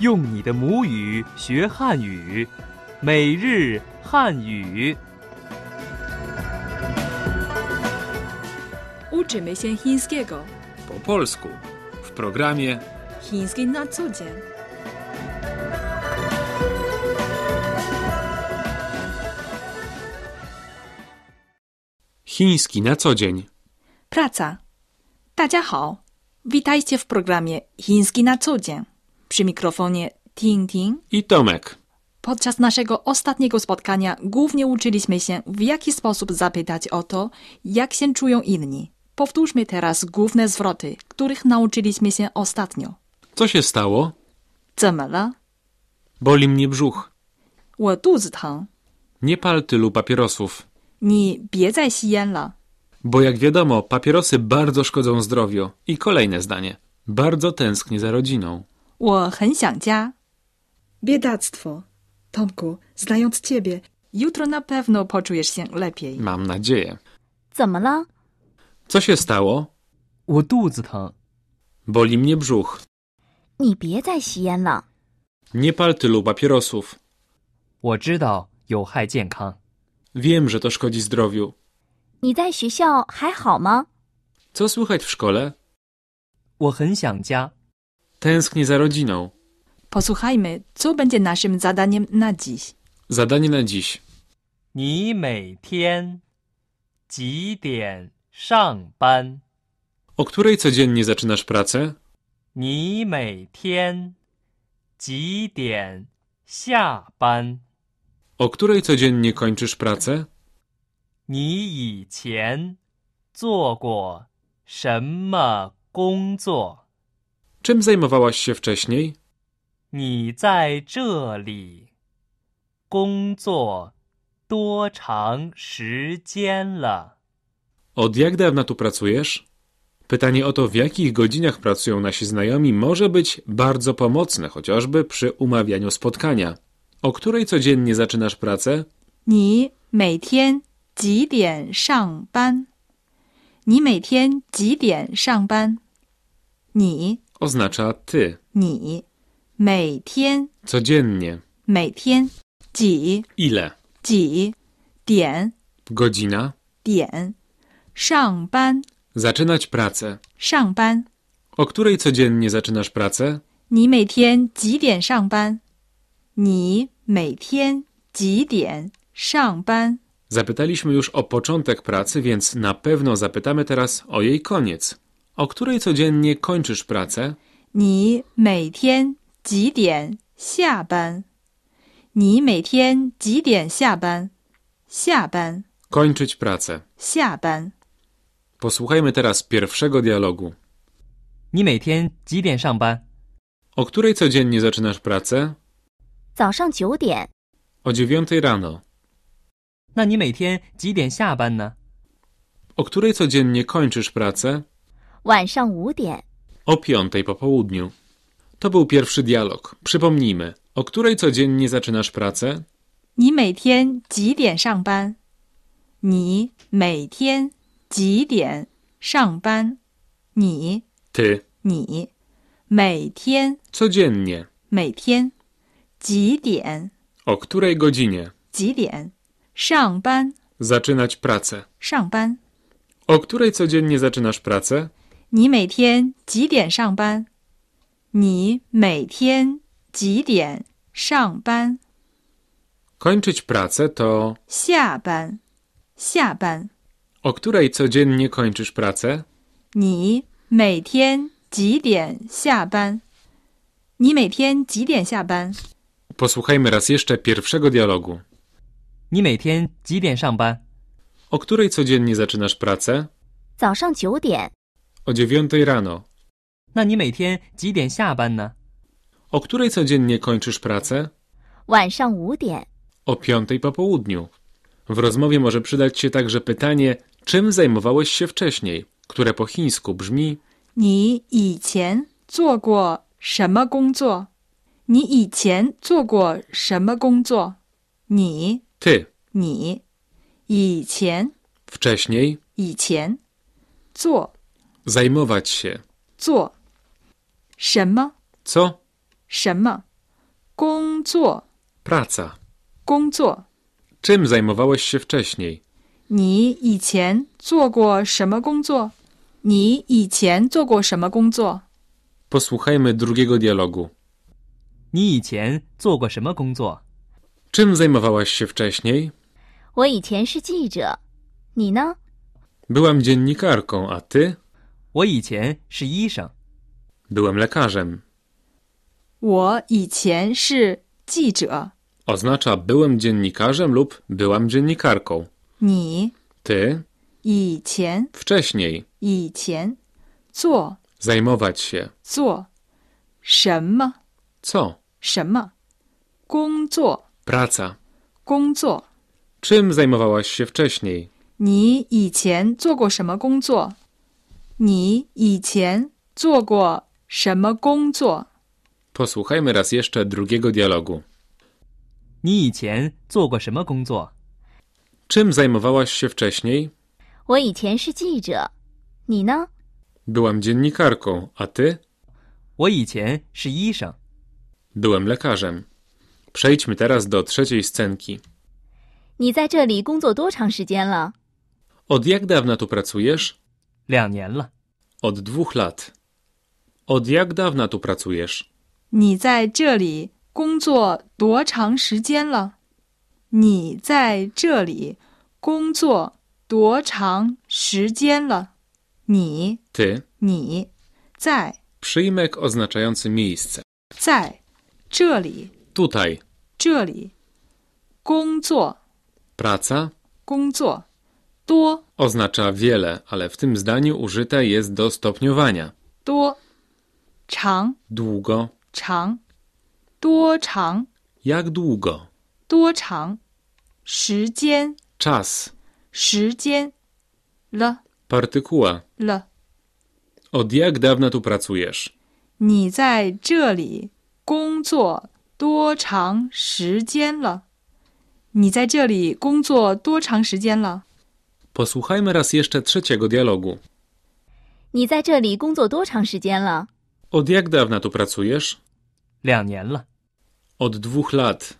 用你的母语学汉语，每日汉语。 Uczymy się chińskiego. po polsku w programie Chiński na co dzień. Chiński na co dzień. Praca. 大家好 Witajcie w programie Chiński na co dzień. Przy mikrofonie Ting Ting. I Tomek. Podczas naszego ostatniego spotkania głównie uczyliśmy się, w jaki sposób zapytać o to, jak się czują inni. Powtórzmy teraz główne zwroty, których nauczyliśmy się ostatnio. Co się stało? 怎么了？ Boli mnie brzuch. 我肚子疼。 Nie pal tylu papierosów. 你别再吸烟了。 Bo jak wiadomo, papierosy bardzo szkodzą zdrowiu. I kolejne zdanie. Bardzo tęsknię za rodziną. 我很想家。Biedactwo. Tomku, znając ciebie, jutro na pewno poczujesz się lepiej. Mam nadzieję. 怎么了？ Co się stało? 我肚子疼， Boli mnie brzuch. 你别再吸烟了。 Nie pal tylu papierosów. 我知道有害健康。 Wiem, że to szkodzi zdrowiu. 你在学校还好吗？ Co słychać w szkole? 我很想家， Tęsknię za rodziną. Posłuchajmy, co będzie naszym zadaniem na dziś. Zadanie na dziś. 你每天几点上班？ O której codziennie zaczynasz pracę? 你每天几点下班？ O której codziennie kończysz pracę? 你以前做过什么工作？ Czym zajmowałaś się wcześniej? 你在这里工作多长时间了？ Od jak dawna tu pracujesz? Pytanie o to, w jakich godzinach pracują nasi znajomi, może być bardzo pomocne, chociażby przy umawianiu spotkania. O której codziennie zaczynasz pracę? 你每天几点上班？你每天几点上班？你 Oznacza ty. 你每天 Codziennie. 每天几 Ile? 几点 Godzina. 点上班 Zaczynać pracę. 上班？ O której codziennie zaczynasz pracę? 你每天几点上班？你每天几点上班？ Zapytaliśmy już o początek pracy, więc na pewno zapytamy teraz o jej koniec. O której codziennie kończysz pracę? 你每天几点下班？你每天几点下班？下班， Kończyć pracę. 下班。 Posłuchajmy teraz pierwszego dialogu. 你每天几点上班？ O której codziennie zaczynasz pracę? 早上九点， O dziewiątej rano. 那你每天几点下班呢？ O której codziennie kończysz pracę? 晚上五点， O piątej po południu. To był pierwszy dialog. Przypomnijmy, o której codziennie zaczynasz pracę? 你每天几点上班？你每天几点上班？你 Ty. 你每天 Codziennie. 每天几点 O której godzinie? 几点上班？ Zaczynać pracę. 上班。 O której codziennie zaczynasz pracę? 你每天几点上班？你每天几点上班？ Kończyć pracę to... 下班，下班。 O której codziennie kończysz pracę? 你每天几点下班？你每天几点下班？ Posłuchajmy raz jeszcze pierwszego dialogu. 你每天几点上班？ O której codziennie zaczynasz pracę? 早上九点， O dziewiątej rano. 那你每天几点下班呢？ O której codziennie kończysz pracę? 晚上五点， O piątej po południu. W rozmowie może przydać się także pytanie, czym zajmowałeś się wcześniej, które po chińsku brzmi 你以前做过什么工作？你以前做过什么工作？你 ty, 你以前 wcześniej, 以前做 zajmować się, 做什么 co, 什么？工作， Praca. 工作。 Czym zajmowałeś się wcześniej? 你以前做过什么工作？你以前做过什么工作？ Posłuchajmy drugiego dialogu. 你以前做过什么工作？ Czym zajmowałaś się wcześniej? 我以前是记者，你呢？ Byłam dziennikarką, a ty? 我以前是医生， Byłem lekarzem. 我以前是记者， Oznacza byłem dziennikarzem lub byłam dziennikarką. 你 Ty? 以前 Wcześniej. 以前做 Zajmować się. 做什么 Co? 什么工作 Praca. 工作？ Czym zajmowałaś się wcześniej? 你以前做过什么工作？你以前做过什么工作？ Posłuchajmy raz jeszcze drugiego dialogu. 你以前做过什么工作？ Czym zajmowałaś się wcześniej? 我以前是记者，你呢？ Byłam dziennikarką, a ty? 我以前是医生， Byłem lekarzem. Przejdźmy teraz do trzeciej scenki. 你在这里工作多长时间了？ Od jak dawna tu pracujesz? 两年了。 Od dwóch lat. Od jak dawna tu pracujesz? 你在这里工作多长时间了？你在这里工作多长时间了？你 Ty. 你在 Przyjmek oznaczający miejsce. 在这里 Tutaj. 这里工作 Praca 工作多 oznacza wiele, ale w tym zdaniu użyte jest do stopniowania. 多长 Długo. 长，多长 Jak długo? 多长，时间 Czas. 时间了 Partykuła. 了， Od jak dawna tu pracujesz? 你在这里工作多长时间了？你在这里工作多长时间了？ Posłuchajmy raz jeszcze trzeciego dialogu. 你在这里工作多长时间了？ Od jak dawna tu pracujesz? 两年了， Od dwóch lat.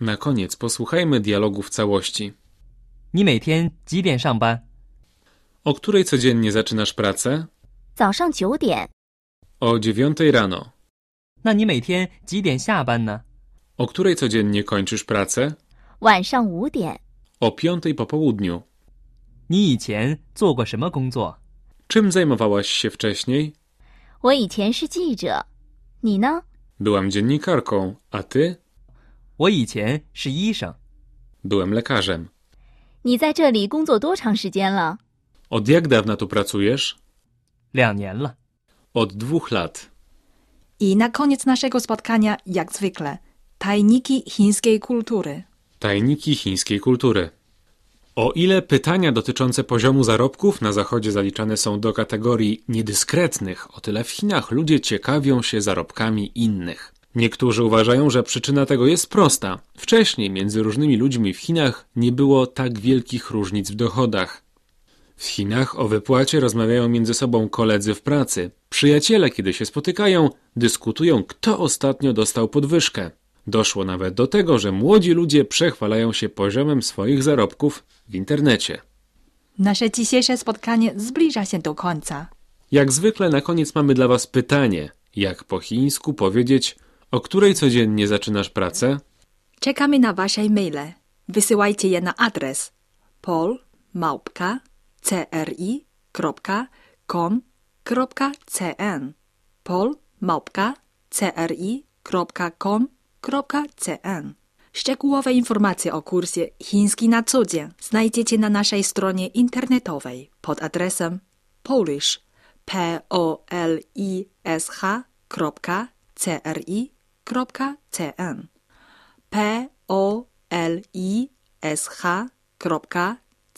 Na koniec posłuchajmy dialogu w całości. 你每天几点上班？ O której codziennie zaczynasz pracę? 早上九点， O dziewiątej rano. 那你每天几点下班呢？ O której codziennie kończysz pracę? 晚上五点。 O piątej po południu. 你以前做过什么工作？ Czym zajmowałaś się wcześniej? 我以前是记者，你呢？ Byłam dziennikarką, a ty? 我以前是医生， Byłem lekarzem. 你在这里工作多长时间了？ Od jak dawna tu pracujesz? 两年了。 Od dwóch lat. I na koniec naszego spotkania, jak zwykle, tajniki chińskiej kultury. Tajniki chińskiej kultury. O ile pytania dotyczące poziomu zarobków na Zachodzie zaliczane są do kategorii niedyskretnych, o tyle w Chinach ludzie ciekawią się zarobkami innych. Niektórzy uważają, że przyczyna tego jest prosta. Wcześniej między różnymi ludźmi w Chinach nie było tak wielkich różnic w dochodach. W Chinach o wypłacie rozmawiają między sobą koledzy w pracy. Przyjaciele, kiedy się spotykają, dyskutują, kto ostatnio dostał podwyżkę. Doszło nawet do tego, że młodzi ludzie przechwalają się poziomem swoich zarobków w internecie. Nasze dzisiejsze spotkanie zbliża się do końca. Jak zwykle na koniec mamy dla Was pytanie, jak po chińsku powiedzieć, o której codziennie zaczynasz pracę? Czekamy na Wasze e-maile. Wysyłajcie je na adres polmałpka.cri.com.cn polmałpka.cri.com.cn Szczegółowe informacje o kursie Chiński na co dzień znajdziecie na naszej stronie internetowej pod adresem polish polish.cri.cn p o l i s h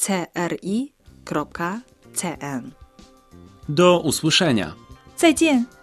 c r i c n。 Do usłyszenia! 再见。